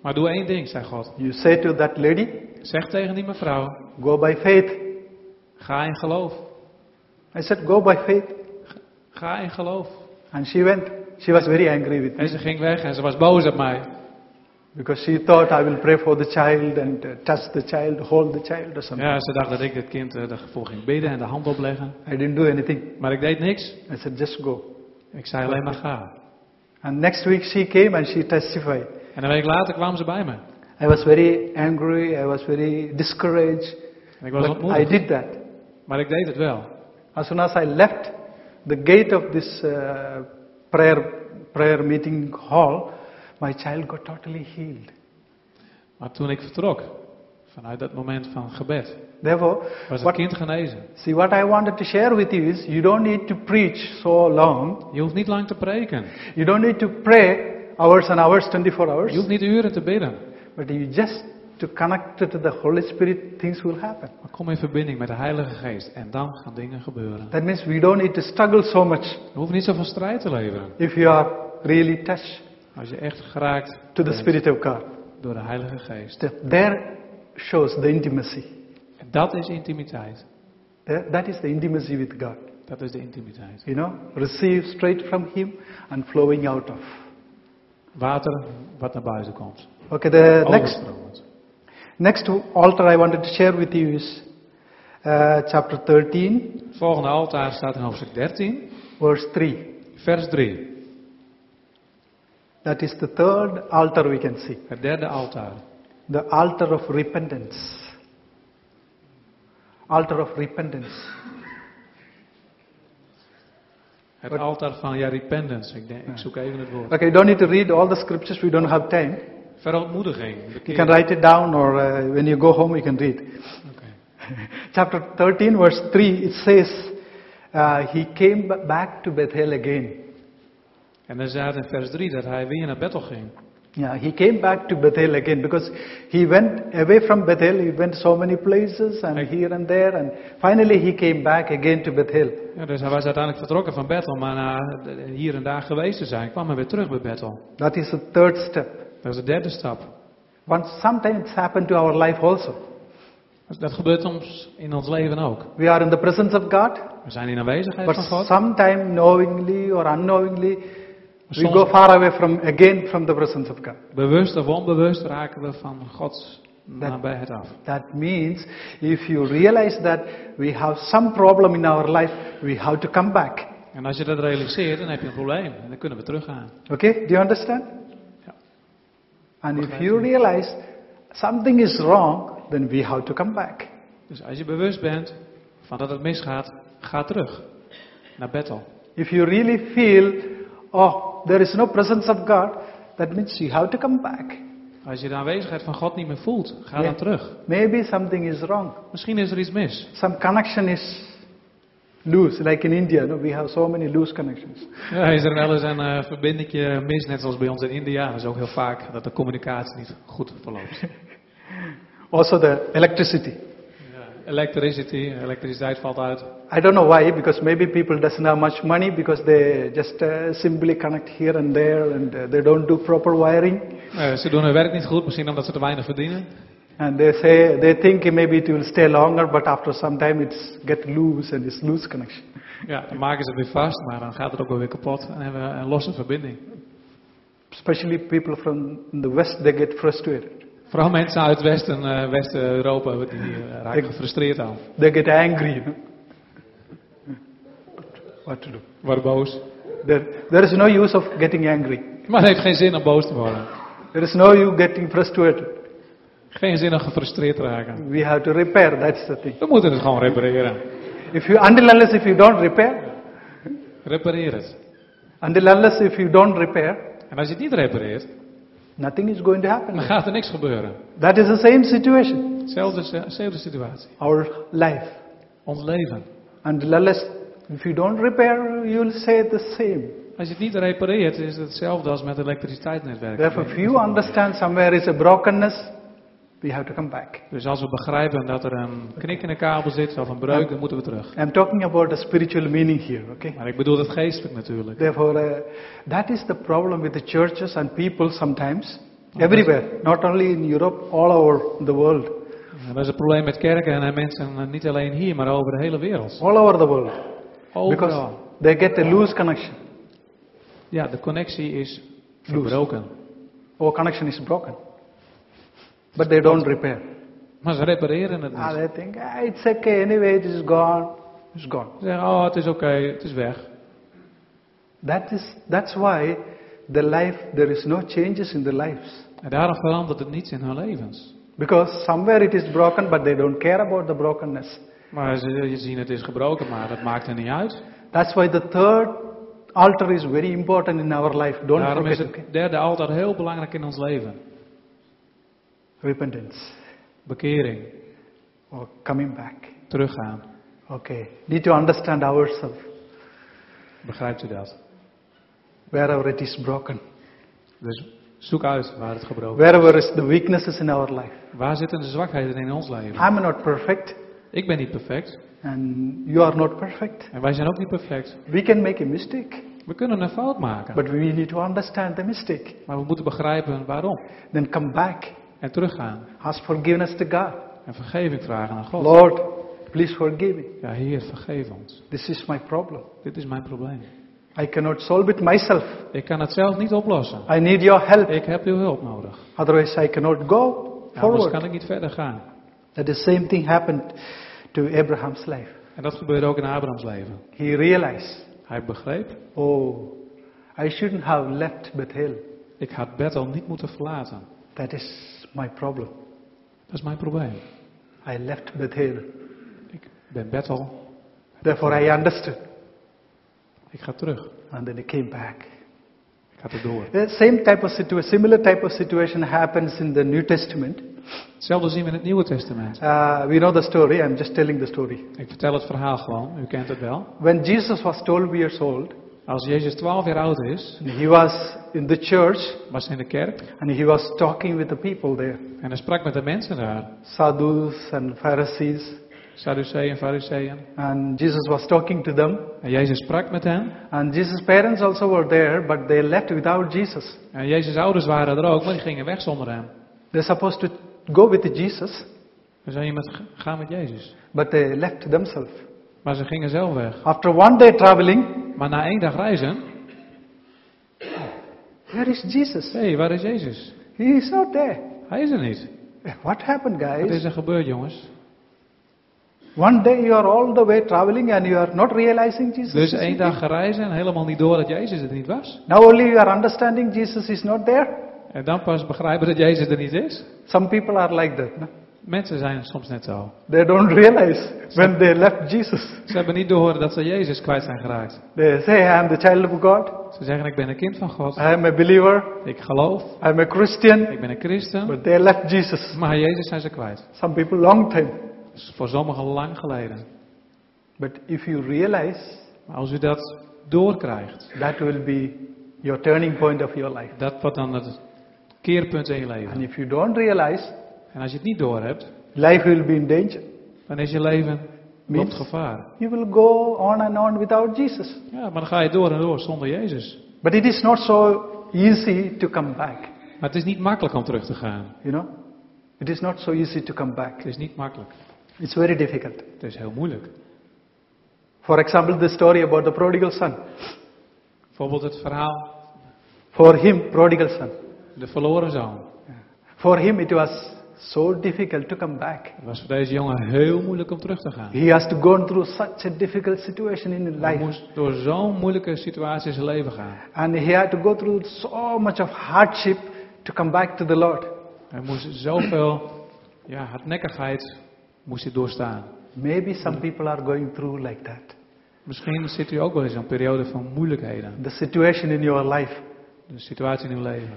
Speaker 2: Maar doe één ding, zei God.
Speaker 1: You say to that lady,
Speaker 2: Zeg tegen die mevrouw,
Speaker 1: go by faith.
Speaker 2: ga in geloof.
Speaker 1: I said, go by faith.
Speaker 2: Ga in geloof.
Speaker 1: And she went. She was very angry with
Speaker 2: En
Speaker 1: me
Speaker 2: ze ging weg en ze was boos op mij.
Speaker 1: because she thought I will pray for the child and uh, touch the child, hold the child or something.
Speaker 2: Ja, ze dacht dat ik het kind eh, daarvoor ging bidden en de hand opleggen.
Speaker 1: I didn't do anything.
Speaker 2: Maar ik deed niks.
Speaker 1: I said, just go.
Speaker 2: Ik zei alleen maar ga.
Speaker 1: And next week she came and she testified.
Speaker 2: En een week later kwamen ze bij me.
Speaker 1: I was very angry. I was very discouraged.
Speaker 2: En ik was
Speaker 1: But I
Speaker 2: ontmoedigd.
Speaker 1: did that.
Speaker 2: Maar ik deed het wel.
Speaker 1: As soon as I left the gate of this uh, prayer prayer meeting hall, my child got totally healed.
Speaker 2: Maar toen ik vertrok, vanuit dat moment van gebed,
Speaker 1: Therefore,
Speaker 2: was het
Speaker 1: what,
Speaker 2: kind genezen.
Speaker 1: see what I wanted to share with you is you don't need to preach so long.
Speaker 2: Je hoeft niet lang te preken.
Speaker 1: You don't need to pray hours and hours, 24 hours.
Speaker 2: Je hoeft niet uren te bidden.
Speaker 1: but you just to connect to the Holy Spirit, things will happen.
Speaker 2: Maar kom in verbinding met de Heilige Geest en dan gaan dingen gebeuren.
Speaker 1: That means we don't need to struggle so much
Speaker 2: Je hoeft niet zoveel strijd te leveren.
Speaker 1: if you are really touched
Speaker 2: Als je echt geraakt
Speaker 1: to the
Speaker 2: bent
Speaker 1: Spirit of God.
Speaker 2: door de Heilige Geest.
Speaker 1: That- There shows the intimacy.
Speaker 2: En dat is intimiteit.
Speaker 1: There- That is the intimacy with God.
Speaker 2: Dat is de intimiteit.
Speaker 1: You know, receive straight from Him and flowing out of.
Speaker 2: Water wat naar buiten komt.
Speaker 1: Okay, the
Speaker 2: Oh.
Speaker 1: next
Speaker 2: Overstromend.
Speaker 1: Next altar I wanted to share with you is uh, chapter 13,
Speaker 2: Het volgende altaar staat in hoofdstuk 13,
Speaker 1: verse 3.
Speaker 2: vers 3.
Speaker 1: That is the third altar we can see.
Speaker 2: Het derde altaar.
Speaker 1: The altar of repentance. Altar of repentance.
Speaker 2: Het altaar van ja, repentance. Ik, denk, ik zoek even het woord.
Speaker 1: Okay, you don't need to read all the scriptures, we don't have time.
Speaker 2: Verontmoediging.
Speaker 1: You
Speaker 2: bekering.
Speaker 1: can write it down or uh, when you go home you can read. <laughs>
Speaker 2: Oké.
Speaker 1: Chapter 13, verse 3, it says, uh, He came b- back to Bethel again.
Speaker 2: En dan staat in vers 3 dat hij weer naar Bethel ging.
Speaker 1: Yeah, he came back to Bethel again because he went away from Bethel. He went so many places and here and there, and finally he came back again to Bethel.
Speaker 2: Ja, dus hij was uiteindelijk vertrokken van Bethel, maar na hier en daar geweest te zijn, kwam hij weer terug bij Bethel.
Speaker 1: That is the third step.
Speaker 2: Dat is de derde stap.
Speaker 1: Once, sometimes it's happened to our life also.
Speaker 2: Dat gebeurt soms in ons leven ook.
Speaker 1: We are in the presence of God,
Speaker 2: We zijn in aanwezigheid
Speaker 1: but
Speaker 2: van God.
Speaker 1: sometime knowingly or unknowingly, we
Speaker 2: Soms-
Speaker 1: go far away from again from the presence of God.
Speaker 2: Bewust of onbewust raken we van Gods nabijheid af.
Speaker 1: That means if you realize that we have some problem in our life, we have to come back.
Speaker 2: En als je dat realiseert, dan heb je een probleem. En dan kunnen we teruggaan.
Speaker 1: Okay, do you understand?
Speaker 2: Ja.
Speaker 1: And if you realize something is wrong, then we have to come back.
Speaker 2: Dus als je bewust bent van dat het misgaat, ga terug naar Bethel.
Speaker 1: If you really feel, oh, there is no presence of God, that means you have to come back.
Speaker 2: Als je de aanwezigheid van God niet meer voelt, ga
Speaker 1: Ja.
Speaker 2: dan terug.
Speaker 1: Maybe something is wrong.
Speaker 2: Misschien is er iets mis.
Speaker 1: Some connection is loose, like in India. No, we have so many loose connections.
Speaker 2: Ja, is er wel eens een eh verbindingje mis, net zoals bij ons in India. Dat is ook heel vaak dat de communicatie niet goed verloopt.
Speaker 1: Also, the electricity.
Speaker 2: Electricity, elektriciteit valt uit.
Speaker 1: I don't know why, because maybe people doesn't have much money because they just uh, simply connect here and there, and uh, they don't do proper wiring.
Speaker 2: Eh, ze doen hun werk niet goed, misschien omdat ze te weinig verdienen.
Speaker 1: And they say they think maybe it will stay longer, but after some time it's get loose and it's loose connection.
Speaker 2: Ja, dan maken ze het weer vast, maar dan gaat het ook wel weer kapot. En dan hebben we een losse verbinding.
Speaker 1: Especially people from the west, they get frustrated.
Speaker 2: Vooral mensen uit Westen, eh, West-Europa die eh, raken gefrustreerd aan.
Speaker 1: They get angry. You know? What to do?
Speaker 2: Worden boos.
Speaker 1: There, there is no use of getting angry.
Speaker 2: Maar het heeft geen zin om boos te worden.
Speaker 1: There is no you getting frustrated.
Speaker 2: Geen zin om gefrustreerd te raken.
Speaker 1: We have to repair. That's the thing.
Speaker 2: We moeten het gewoon repareren.
Speaker 1: If you until unless if you don't repair,
Speaker 2: Repareer het.
Speaker 1: until unless if you don't repair,
Speaker 2: En als je het niet repareert,
Speaker 1: nothing is going to happen.
Speaker 2: dan gaat er niks gebeuren.
Speaker 1: That is the same situation,
Speaker 2: Zelfde, zelfde situatie.
Speaker 1: our life.
Speaker 2: Ons leven.
Speaker 1: And unless if you don't repair, you will stay the same.
Speaker 2: Als je het niet repareert, is het hetzelfde als met elektriciteitsnetwerken.
Speaker 1: Therefore, if you understand somewhere is a brokenness, we have to come back.
Speaker 2: Dus als we begrijpen dat er een knik in een kabel zit of een breuk, dan moeten we terug.
Speaker 1: I'm talking about a spiritual meaning here, okay?
Speaker 2: Maar ik bedoel het geestelijk natuurlijk.
Speaker 1: Therefore, uh, that is the problem with the churches and people sometimes, everywhere, not only in Europe, all over the world,
Speaker 2: En dat is het probleem met kerken en mensen, eh, niet alleen hier, maar over de hele wereld.
Speaker 1: all over the world, because
Speaker 2: Overal.
Speaker 1: they get a loose connection.
Speaker 2: Ja, de connectie is verbroken.
Speaker 1: Our connection is broken, but they don't repair.
Speaker 2: Maar ze repareren het
Speaker 1: Ah,
Speaker 2: niet.
Speaker 1: they think ah, it's okay anyway, it is gone, it's gone.
Speaker 2: Ze zeggen, oh, het is oké, het is weg.
Speaker 1: That is that's why the life there is no changes in the lives
Speaker 2: En daarom verandert het niets in hun levens.
Speaker 1: because somewhere it is broken, but they don't care about the brokenness.
Speaker 2: Maar ze je zien, het is gebroken, maar dat maakt er niet uit.
Speaker 1: That's why the third altar is very important in our life. Don't
Speaker 2: Daarom is
Speaker 1: forget
Speaker 2: het derde altijd heel belangrijk in ons leven.
Speaker 1: okay? repentance
Speaker 2: Bekering,
Speaker 1: or coming back.
Speaker 2: teruggaan.
Speaker 1: Okay, need to understand ourselves
Speaker 2: Begrijpt u dat?
Speaker 1: wherever it is broken,
Speaker 2: Dus zoek uit waar het gebroken is.
Speaker 1: wherever is the weaknesses in our life.
Speaker 2: Waar zitten de zwakheden in ons leven?
Speaker 1: I'm not perfect,
Speaker 2: Ik ben niet perfect.
Speaker 1: and you are not perfect.
Speaker 2: En wij zijn ook niet perfect.
Speaker 1: We can make a mistake,
Speaker 2: We kunnen een fout maken.
Speaker 1: but we need to understand the mistake.
Speaker 2: Maar we moeten begrijpen waarom.
Speaker 1: Then come back
Speaker 2: En teruggaan.
Speaker 1: Ask forgiveness to God.
Speaker 2: En vergeving vragen aan God.
Speaker 1: Lord, please forgive me.
Speaker 2: Ja, Heer, vergeef ons.
Speaker 1: This is my problem.
Speaker 2: Dit is mijn probleem.
Speaker 1: I cannot solve it myself.
Speaker 2: Ik kan het zelf niet oplossen.
Speaker 1: I need your help.
Speaker 2: Ik heb uw hulp nodig.
Speaker 1: Otherwise, I cannot go
Speaker 2: Anders kan
Speaker 1: forward.
Speaker 2: ik niet verder gaan.
Speaker 1: That the same thing happened to Abraham's life.
Speaker 2: En dat gebeurde ook in Abrahams leven.
Speaker 1: He realized,
Speaker 2: Hij begreep,
Speaker 1: oh, I shouldn't have left Bethel.
Speaker 2: ik had Bethel niet moeten verlaten.
Speaker 1: That is my problem.
Speaker 2: Dat is mijn probleem.
Speaker 1: I left Bethel.
Speaker 2: Ik ben Bethel,
Speaker 1: Therefore, I understood.
Speaker 2: ik ga terug.
Speaker 1: And then I came back.
Speaker 2: Ik ga erdoor.
Speaker 1: The same type of situation, similar type of situation happens in the New Testament.
Speaker 2: Hetzelfde zien we in het Nieuwe Testament.
Speaker 1: Uh, we know the story. I'm just telling the story.
Speaker 2: Ik vertel het verhaal gewoon, u kent het wel.
Speaker 1: When Jesus was 12 years old,
Speaker 2: Als Jezus 12 jaar oud is,
Speaker 1: he was in the church
Speaker 2: was hij in de kerk
Speaker 1: and he was talking with the people there,
Speaker 2: en hij sprak met de mensen daar.
Speaker 1: Sadhus and Pharisees.
Speaker 2: Sadduceeën, Fariseeën.
Speaker 1: And Jesus was talking to them.
Speaker 2: En Jezus sprak met hen.
Speaker 1: And Jesus' parents also were there, but they left without Jesus.
Speaker 2: En Jezus' ouders waren er ook, maar die gingen weg zonder hem.
Speaker 1: They're supposed to go with Jesus,
Speaker 2: Dus zei iemand, "Ga- ga met Jezus.
Speaker 1: but they left themselves.
Speaker 2: Maar ze gingen zelf weg.
Speaker 1: After one day traveling,
Speaker 2: Maar na één dag reizen,
Speaker 1: where is Jesus?
Speaker 2: hé, waar is Jezus?
Speaker 1: He is not there. Eh,
Speaker 2: Hij is er niet.
Speaker 1: What happened,
Speaker 2: Wat is
Speaker 1: guys?
Speaker 2: er gebeurd, jongens?
Speaker 1: One day you are all the way traveling and you are not realizing Jesus. is
Speaker 2: Dus één
Speaker 1: with you.
Speaker 2: dag gereisd en helemaal niet door dat Jezus er niet was.
Speaker 1: Now only you are understanding Jesus is not there.
Speaker 2: En dan pas begrijpen dat Jezus er niet is.
Speaker 1: Some people are like that. no?
Speaker 2: Mensen zijn soms net zo.
Speaker 1: They don't <laughs> realize when they left Jesus.
Speaker 2: Ze hebben niet door dat ze Jezus kwijt zijn geraakt.
Speaker 1: They say, I am the child of God.
Speaker 2: Ze zeggen, ik ben een kind van God.
Speaker 1: I am a believer.
Speaker 2: Ik geloof.
Speaker 1: I am a Christian.
Speaker 2: Ik ben een christen.
Speaker 1: But they left Jesus.
Speaker 2: Maar Jezus zijn ze kwijt.
Speaker 1: Some people long time.
Speaker 2: Dat is voor sommigen lang geleden.
Speaker 1: But if you realize,
Speaker 2: Maar als u dat doorkrijgt,
Speaker 1: that will be your turning point of your life.
Speaker 2: dat wordt dan het keerpunt in je
Speaker 1: And
Speaker 2: leven.
Speaker 1: if you don't realize,
Speaker 2: En als je het niet doorhebt,
Speaker 1: life will be in danger.
Speaker 2: dan is je leven loopt gevaar.
Speaker 1: You will go on and on without Jesus.
Speaker 2: Ja, maar dan ga je door en door zonder Jezus.
Speaker 1: But it is not so easy to come back.
Speaker 2: Maar het is niet makkelijk om terug te gaan.
Speaker 1: You know, it is not so easy to come back.
Speaker 2: Het is niet makkelijk.
Speaker 1: It's very difficult.
Speaker 2: Het is heel moeilijk.
Speaker 1: For example, the story about the prodigal son.
Speaker 2: Bijvoorbeeld het verhaal,
Speaker 1: For him, prodigal son.
Speaker 2: de verloren zoon.
Speaker 1: For him, it was so difficult to come back.
Speaker 2: Het was voor deze jongen heel moeilijk om terug te gaan.
Speaker 1: He has to go through such a difficult situation in his
Speaker 2: Hij
Speaker 1: life.
Speaker 2: moest door zo'n moeilijke situatie in zijn leven gaan.
Speaker 1: And he had to go through so much of hardship to come back to the Lord.
Speaker 2: Hij moest zoveel ja, hardnekkigheid moest hij doorstaan.
Speaker 1: Maybe some people are going through like that.
Speaker 2: Misschien zit u ook wel in zo'n periode van moeilijkheden.
Speaker 1: The situation in your life
Speaker 2: de situatie in uw leven.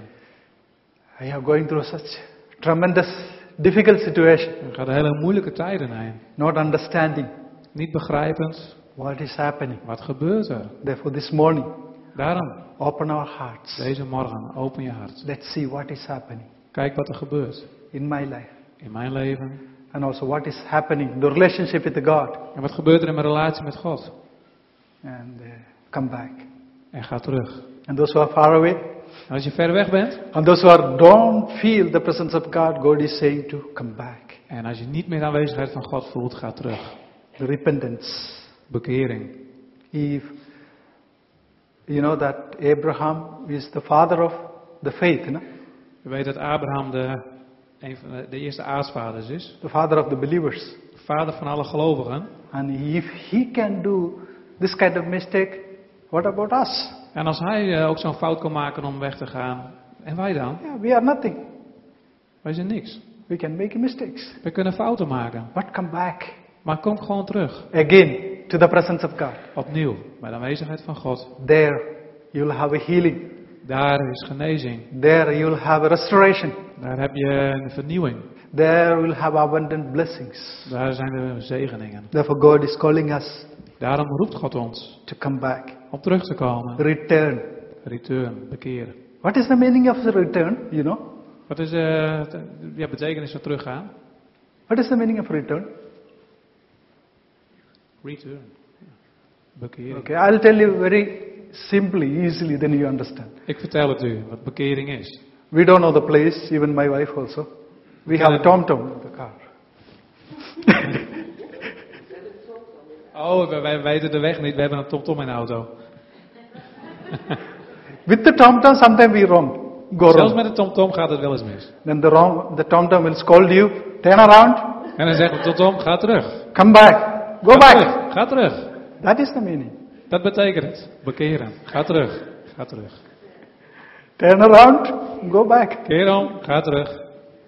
Speaker 1: I am going through such tremendous difficult situation,
Speaker 2: U gaat hele moeilijke tijden heen.
Speaker 1: not understanding
Speaker 2: Niet begrijpend,
Speaker 1: what is happening.
Speaker 2: wat gebeurt er?
Speaker 1: Therefore, this morning,
Speaker 2: Daarom,
Speaker 1: open our hearts.
Speaker 2: deze morgen, open je hart.
Speaker 1: Let's see what is happening
Speaker 2: Kijk wat er gebeurt
Speaker 1: in my life
Speaker 2: in mijn leven.
Speaker 1: and also what is happening in the relationship with God
Speaker 2: En wat gebeurt er in mijn relatie met God?
Speaker 1: and uh, come back.
Speaker 2: En ga terug.
Speaker 1: And those who are far away
Speaker 2: En als je ver weg bent
Speaker 1: and those who are don't feel the presence of God, God is saying to come back.
Speaker 2: en als je niet meer de aanwezigheid van God voelt, ga terug.
Speaker 1: The repentance.
Speaker 2: Bekering.
Speaker 1: If you know that Abraham is the father of the faith, no?
Speaker 2: Je weet dat Abraham de, een van de, de eerste aartsvaders is.
Speaker 1: the father of the believers.
Speaker 2: Vader van alle gelovigen.
Speaker 1: And if he can do this kind of mistake, what about us?
Speaker 2: En als hij eh, ook zo'n fout kon maken om weg te gaan, en wij dan?
Speaker 1: Yeah, we are nothing.
Speaker 2: Wij zijn niks.
Speaker 1: We can make mistakes.
Speaker 2: We kunnen fouten maken.
Speaker 1: But come back
Speaker 2: Maar kom gewoon terug.
Speaker 1: again to the presence of God.
Speaker 2: Opnieuw, bij de aanwezigheid van God.
Speaker 1: There you'll have a healing.
Speaker 2: Daar is genezing.
Speaker 1: There you'll have a restoration.
Speaker 2: Daar heb je een vernieuwing.
Speaker 1: There you'll have abundant blessings.
Speaker 2: Daar zijn de zegeningen.
Speaker 1: Therefore, God is calling us
Speaker 2: Daarom roept God ons
Speaker 1: to come back,
Speaker 2: om terug te komen.
Speaker 1: return.
Speaker 2: Return, bekeren.
Speaker 1: What is the meaning of the return? You know,
Speaker 2: Wat is eh, de ja, betekenis van teruggaan?
Speaker 1: what is the meaning of return?
Speaker 2: Return. Bekering.
Speaker 1: Okay, I'll tell you very simply, easily, then you understand.
Speaker 2: Ik vertel het u, wat bekering is.
Speaker 1: We don't know the place, even my wife also. We have Tom Tom in the car.
Speaker 2: Oh, wij, wij weten de weg niet, we hebben een TomTom in de auto.
Speaker 1: With the Tom Tom, sometimes we wrong, go
Speaker 2: Zelfs
Speaker 1: wrong.
Speaker 2: met de TomTom gaat het wel eens mis.
Speaker 1: Then the wrong, the Tom Tom will scold you, turn around,
Speaker 2: En dan zegt de TomTom, ga terug.
Speaker 1: come back, go
Speaker 2: Ga
Speaker 1: back.
Speaker 2: terug, ga terug.
Speaker 1: That is the meaning.
Speaker 2: Dat betekent het. Bekeren. Ga terug. Ga terug.
Speaker 1: Turn around, go back.
Speaker 2: Keer om, ga terug.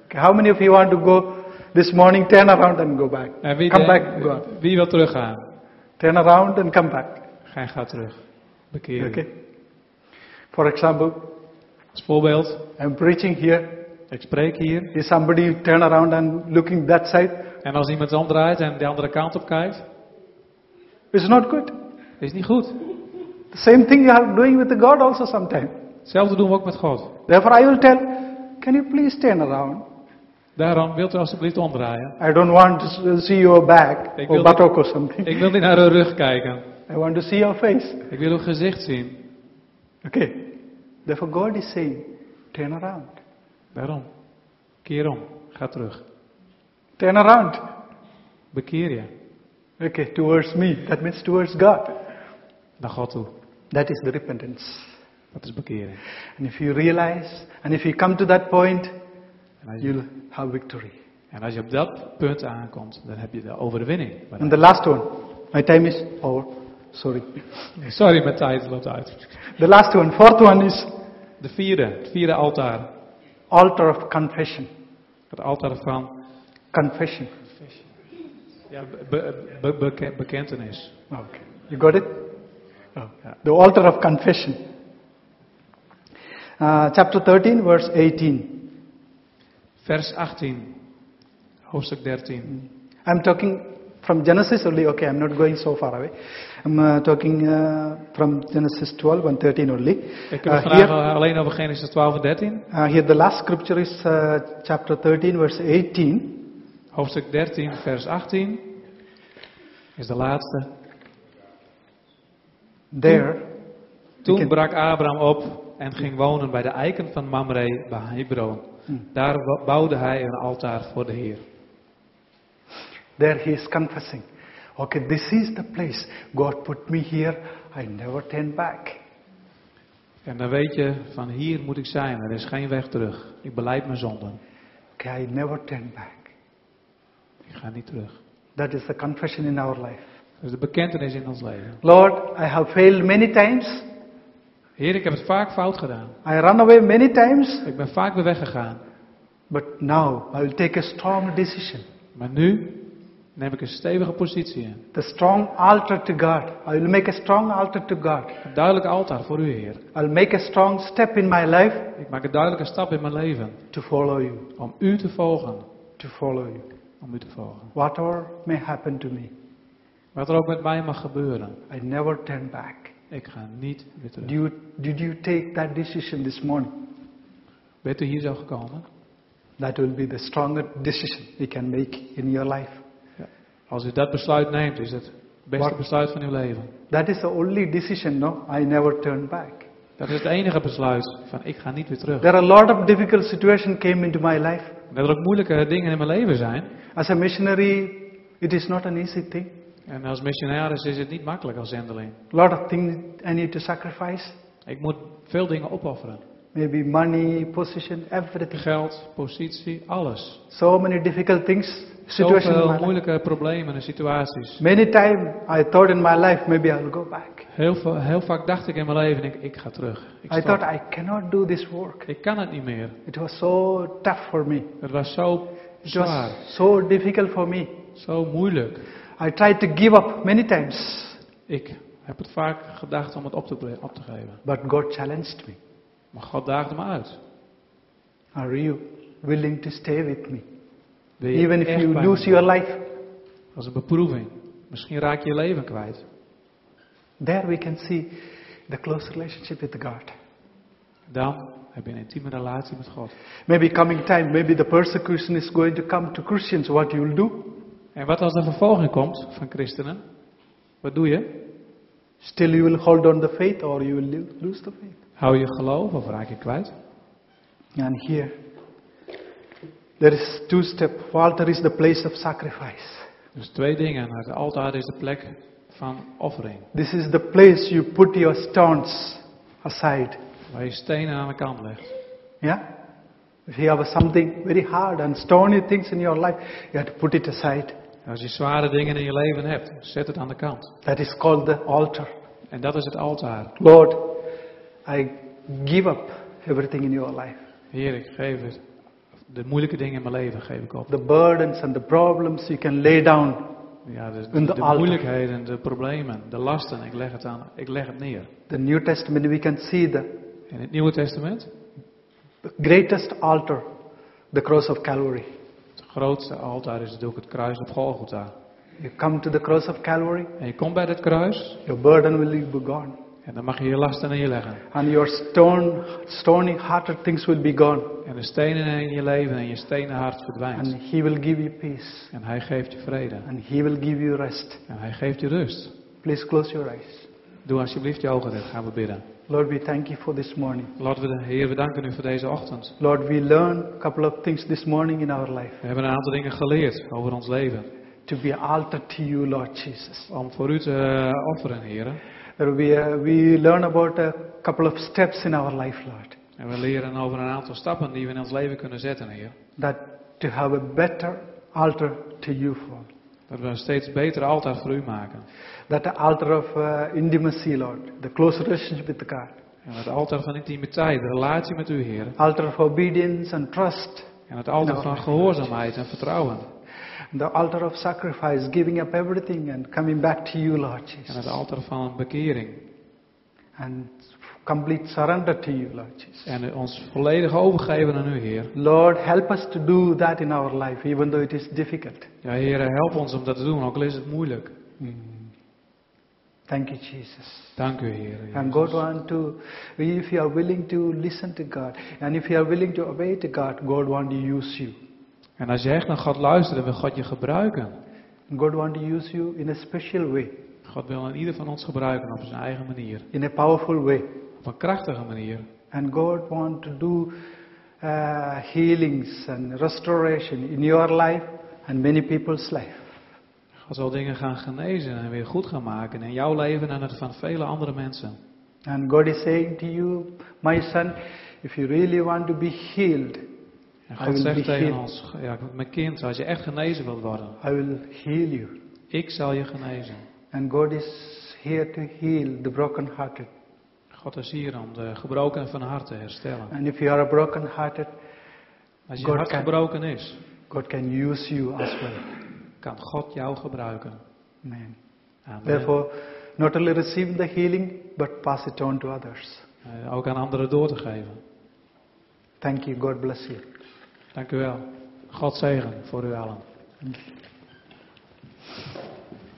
Speaker 1: How many of you want to go this morning, turn around and go back?
Speaker 2: En wie,
Speaker 1: come
Speaker 2: denkt-
Speaker 1: back, go on.
Speaker 2: wie wil teruggaan?
Speaker 1: Turn around and come back.
Speaker 2: Gij gaat terug. Bekeren.
Speaker 1: Okay? For example,
Speaker 2: Als voorbeeld,
Speaker 1: I'm preaching here.
Speaker 2: ik spreek hier.
Speaker 1: Is somebody turn around and looking that side?
Speaker 2: En als iemand omdraait en de andere kant op kijkt,
Speaker 1: It's not good.
Speaker 2: is niet goed.
Speaker 1: The same thing you are doing with God also sometimes.
Speaker 2: Hetzelfde doen we ook met God.
Speaker 1: Therefore, I will tell, can you please turn around?
Speaker 2: Daarom wilt u alsjeblieft omdraaien.
Speaker 1: I don't want to see your back
Speaker 2: Ik
Speaker 1: or
Speaker 2: wil-
Speaker 1: buttock or something.
Speaker 2: Ik wil niet naar uw rug kijken.
Speaker 1: I want to see your face.
Speaker 2: Ik wil uw gezicht zien.
Speaker 1: Okay. Therefore, God is saying, turn around.
Speaker 2: Daarom. Keer om. Ga terug.
Speaker 1: Turn around.
Speaker 2: Bekeer je
Speaker 1: Okay, towards me. That means towards God.
Speaker 2: naar God toe.
Speaker 1: That is the repentance.
Speaker 2: Dat is bekering.
Speaker 1: And if you realize, and if you come to that point,
Speaker 2: En als, je,
Speaker 1: you'll have victory.
Speaker 2: en als je op dat punt aankomt, dan heb je de overwinning.
Speaker 1: And the last one. My time is over. Sorry.
Speaker 2: Sorry, mijn tijd loopt uit.
Speaker 1: The last one, fourth one is
Speaker 2: De vierde, het vierde altaar.
Speaker 1: altar of confession.
Speaker 2: Het altaar van
Speaker 1: Confession.
Speaker 2: ja, be- be- be- beke- bekentenis.
Speaker 1: Okay. You got it? Oh.
Speaker 2: Yeah.
Speaker 1: The altar of confession. Uh, chapter 13, verse 18.
Speaker 2: Vers 18, hoofdstuk 13.
Speaker 1: I'm talking from Genesis only. Okay, I'm not going so far away. I'm uh, talking uh, from Genesis 12 and 13 only.
Speaker 2: Ik heb
Speaker 1: Uh,
Speaker 2: het vandaag
Speaker 1: here,
Speaker 2: alleen over Genesis 12 en 13.
Speaker 1: uh, here the last scripture is uh, chapter 13, verse 18.
Speaker 2: Hoofdstuk 13, vers 18 is de laatste.
Speaker 1: There,
Speaker 2: Toen brak Abraham op en ging wonen bij de eiken van Mamre bij Hebron. Daar wo- bouwde hij een altaar voor de Heer.
Speaker 1: there he is confessing. Okay, this is the place God put me here. I never turn back.
Speaker 2: En dan weet je, van hier moet ik zijn, er is geen weg terug. Ik beleid mijn zonden,
Speaker 1: Okay, I never turn back.
Speaker 2: ik ga niet terug.
Speaker 1: That is the confession in our life.
Speaker 2: Dat is de bekentenis in ons leven.
Speaker 1: Lord, I have failed many times.
Speaker 2: Heer, ik heb het vaak fout gedaan.
Speaker 1: I run away many times.
Speaker 2: Ik ben vaak weer weggegaan.
Speaker 1: But now I will take a strong decision
Speaker 2: Maar nu neem ik een stevige positie in.
Speaker 1: The strong altar to God. I will make a strong altar to God.
Speaker 2: Een duidelijk altaar voor u, Heer.
Speaker 1: I'll make a strong step in my life
Speaker 2: Ik maak een duidelijke stap in mijn leven
Speaker 1: to follow you.
Speaker 2: om u te volgen.
Speaker 1: To follow you.
Speaker 2: Om u te volgen.
Speaker 1: Whatever may happen to me,
Speaker 2: Wat er ook met mij mag gebeuren,
Speaker 1: I never turn back.
Speaker 2: ik ga niet meer terug.
Speaker 1: Do you, did you take that decision this morning?
Speaker 2: Bent u hier zo gekomen?
Speaker 1: That will be the strongest decision you can make in your life.
Speaker 2: Als u dat besluit neemt, is het het beste
Speaker 1: Wat-
Speaker 2: besluit van uw leven.
Speaker 1: That is the only decision, no? I never turn back.
Speaker 2: Dat is het enige besluit van ik ga niet weer terug.
Speaker 1: There are a lot of difficult situations came into my life.
Speaker 2: Dat er ook moeilijke dingen in mijn leven zijn.
Speaker 1: As a missionary, it is not an easy thing.
Speaker 2: En als missionaris is het niet makkelijk als zendeling.
Speaker 1: A lot of things I need to sacrifice.
Speaker 2: Ik moet veel dingen opofferen.
Speaker 1: Maybe money, position, everything.
Speaker 2: Geld, positie, alles.
Speaker 1: So many difficult things, situation in my
Speaker 2: Zoveel
Speaker 1: life.
Speaker 2: moeilijke problemen en situaties.
Speaker 1: Many times I thought in my life maybe I'll go back.
Speaker 2: Heel, veel- heel vaak dacht ik in mijn leven, ik, ik ga terug. Ik,
Speaker 1: I
Speaker 2: stop.
Speaker 1: thought I cannot do this work.
Speaker 2: ik kan het niet meer.
Speaker 1: It was so tough for me.
Speaker 2: Het was zo
Speaker 1: It
Speaker 2: zwaar,
Speaker 1: was so difficult for me.
Speaker 2: zo moeilijk.
Speaker 1: I tried to give up many times,
Speaker 2: Ik heb het vaak gedacht om het op te, bre- op te geven.
Speaker 1: but God challenged me.
Speaker 2: Maar God daagde me uit.
Speaker 1: Are you willing to stay with me?
Speaker 2: Wil je
Speaker 1: Even if
Speaker 2: echt
Speaker 1: you
Speaker 2: bij me
Speaker 1: lose
Speaker 2: zijn?
Speaker 1: your life,
Speaker 2: Dat is een beproeving. Misschien raak je je leven kwijt.
Speaker 1: there we can see the close relationship with God.
Speaker 2: Dan heb je een intieme relatie met God.
Speaker 1: Maybe coming time, maybe the persecution is going to come to Christians. What you will do?
Speaker 2: En wat als er vervolging komt van christenen? Wat doe je?
Speaker 1: Still you will hold on the faith or you will lo- lose the faith.
Speaker 2: Hou je geloof of raak je kwijt?
Speaker 1: And here, there is two step. Altar is the place of sacrifice.
Speaker 2: Dus twee dingen. Het altaar is de plek van offering.
Speaker 1: This is the place you put your stones aside.
Speaker 2: Waar je stenen aan de kant legt.
Speaker 1: Yeah? If you have something very hard and stony things in your life, you have to put it aside.
Speaker 2: Als je zware dingen in je leven hebt, zet het aan de kant.
Speaker 1: That is called the altar.
Speaker 2: En dat is het altaar.
Speaker 1: Lord, I give up everything in your life.
Speaker 2: Heer, ik geef het. De moeilijke dingen in mijn leven geef ik op.
Speaker 1: The burdens and the problems you can lay down.
Speaker 2: Ja, de,
Speaker 1: En de
Speaker 2: de,
Speaker 1: altaar.
Speaker 2: moeilijkheden, de problemen, de lasten, ik leg, het aan, ik leg het neer.
Speaker 1: The New Testament, we can see the
Speaker 2: In het Nieuwe Testament,
Speaker 1: greatest altar, the cross of Calvary.
Speaker 2: het grootste altaar is natuurlijk het kruis op Golgotha.
Speaker 1: You come to the cross of Calvary,
Speaker 2: En je komt bij dat kruis
Speaker 1: your burden will be gone,
Speaker 2: en dan mag je je lasten neerleggen.
Speaker 1: and your stone, stony hearted things will be gone,
Speaker 2: En de stenen in je leven en je stenen hart verdwijnt.
Speaker 1: and He will give you peace,
Speaker 2: En hij geeft je vrede.
Speaker 1: and He will give you rest.
Speaker 2: En hij geeft je rust.
Speaker 1: Please close your eyes.
Speaker 2: Doe alsjeblieft je ogen dicht, gaan we bidden.
Speaker 1: Lord, we thank you for this morning.
Speaker 2: Laten we de Heer bedanken u voor deze ochtend.
Speaker 1: Lord, we learn a couple of things this morning in our life
Speaker 2: We hebben een aantal dingen geleerd over ons leven.
Speaker 1: to be altar to you, Lord Jesus.
Speaker 2: Om voor u te eh, offeren, heren.
Speaker 1: Lord, we, uh, we learn about a couple of steps in our life, Lord,
Speaker 2: En we leren over een aantal stappen die we in ons leven kunnen zetten, Heer.
Speaker 1: that to have a better altar to you for.
Speaker 2: Dat we een steeds betere altaar voor u maken.
Speaker 1: That the altar of uh, intimacy, Lord, the close relationship with God,
Speaker 2: En het altaar van intimiteit, de relatie met u, Heer.
Speaker 1: altar of obedience and trust,
Speaker 2: En het altaar van gehoorzaamheid en vertrouwen.
Speaker 1: the altar of sacrifice, giving up everything and coming back to you, Lord
Speaker 2: En
Speaker 1: Jesus,
Speaker 2: het altaar van bekering.
Speaker 1: and complete surrender to you, Lord Jesus.
Speaker 2: En ons volledig overgeven aan u, Heer.
Speaker 1: Lord, help us to do that in our life, even though it is difficult.
Speaker 2: Ja, Heer, help ons om dat te doen, ook al is het moeilijk.
Speaker 1: Mm. Thank you, Jesus.
Speaker 2: Dank u, Heer.
Speaker 1: And God want to, if you are willing to listen to God, and if you are willing to obey to God, God want to use you.
Speaker 2: En als je echt naar God luistert, dan wil God je gebruiken.
Speaker 1: God want to use you in a special way,
Speaker 2: God wil in ieder van ons gebruiken op zijn eigen manier.
Speaker 1: in a powerful way.
Speaker 2: Op een krachtige manier.
Speaker 1: And God want to do uh, healings and restoration in your life and many people's life.
Speaker 2: God zal dingen gaan genezen en weer goed gaan maken in jouw leven en het van vele andere mensen.
Speaker 1: And God is saying to you, my son, if you really want to be healed,
Speaker 2: En
Speaker 1: I
Speaker 2: God
Speaker 1: will be
Speaker 2: zegt tegen
Speaker 1: healed.
Speaker 2: ons, ja, mijn kind, als je echt genezen wilt worden,
Speaker 1: I will heal you.
Speaker 2: ik zal je genezen.
Speaker 1: And God is here to heal the brokenhearted.
Speaker 2: God is hier om de gebroken van hart te herstellen.
Speaker 1: And if you are a brokenhearted,
Speaker 2: Als je
Speaker 1: God
Speaker 2: hart
Speaker 1: kan-
Speaker 2: gebroken is,
Speaker 1: God can use you as well.
Speaker 2: kan God jou gebruiken.
Speaker 1: Amen.
Speaker 2: Amen.
Speaker 1: Therefore, not only receive the healing, but pass it on to others.
Speaker 2: Eh, ook aan anderen door te geven.
Speaker 1: Thank you. God bless you.
Speaker 2: Dank u wel. God zegen voor u allen.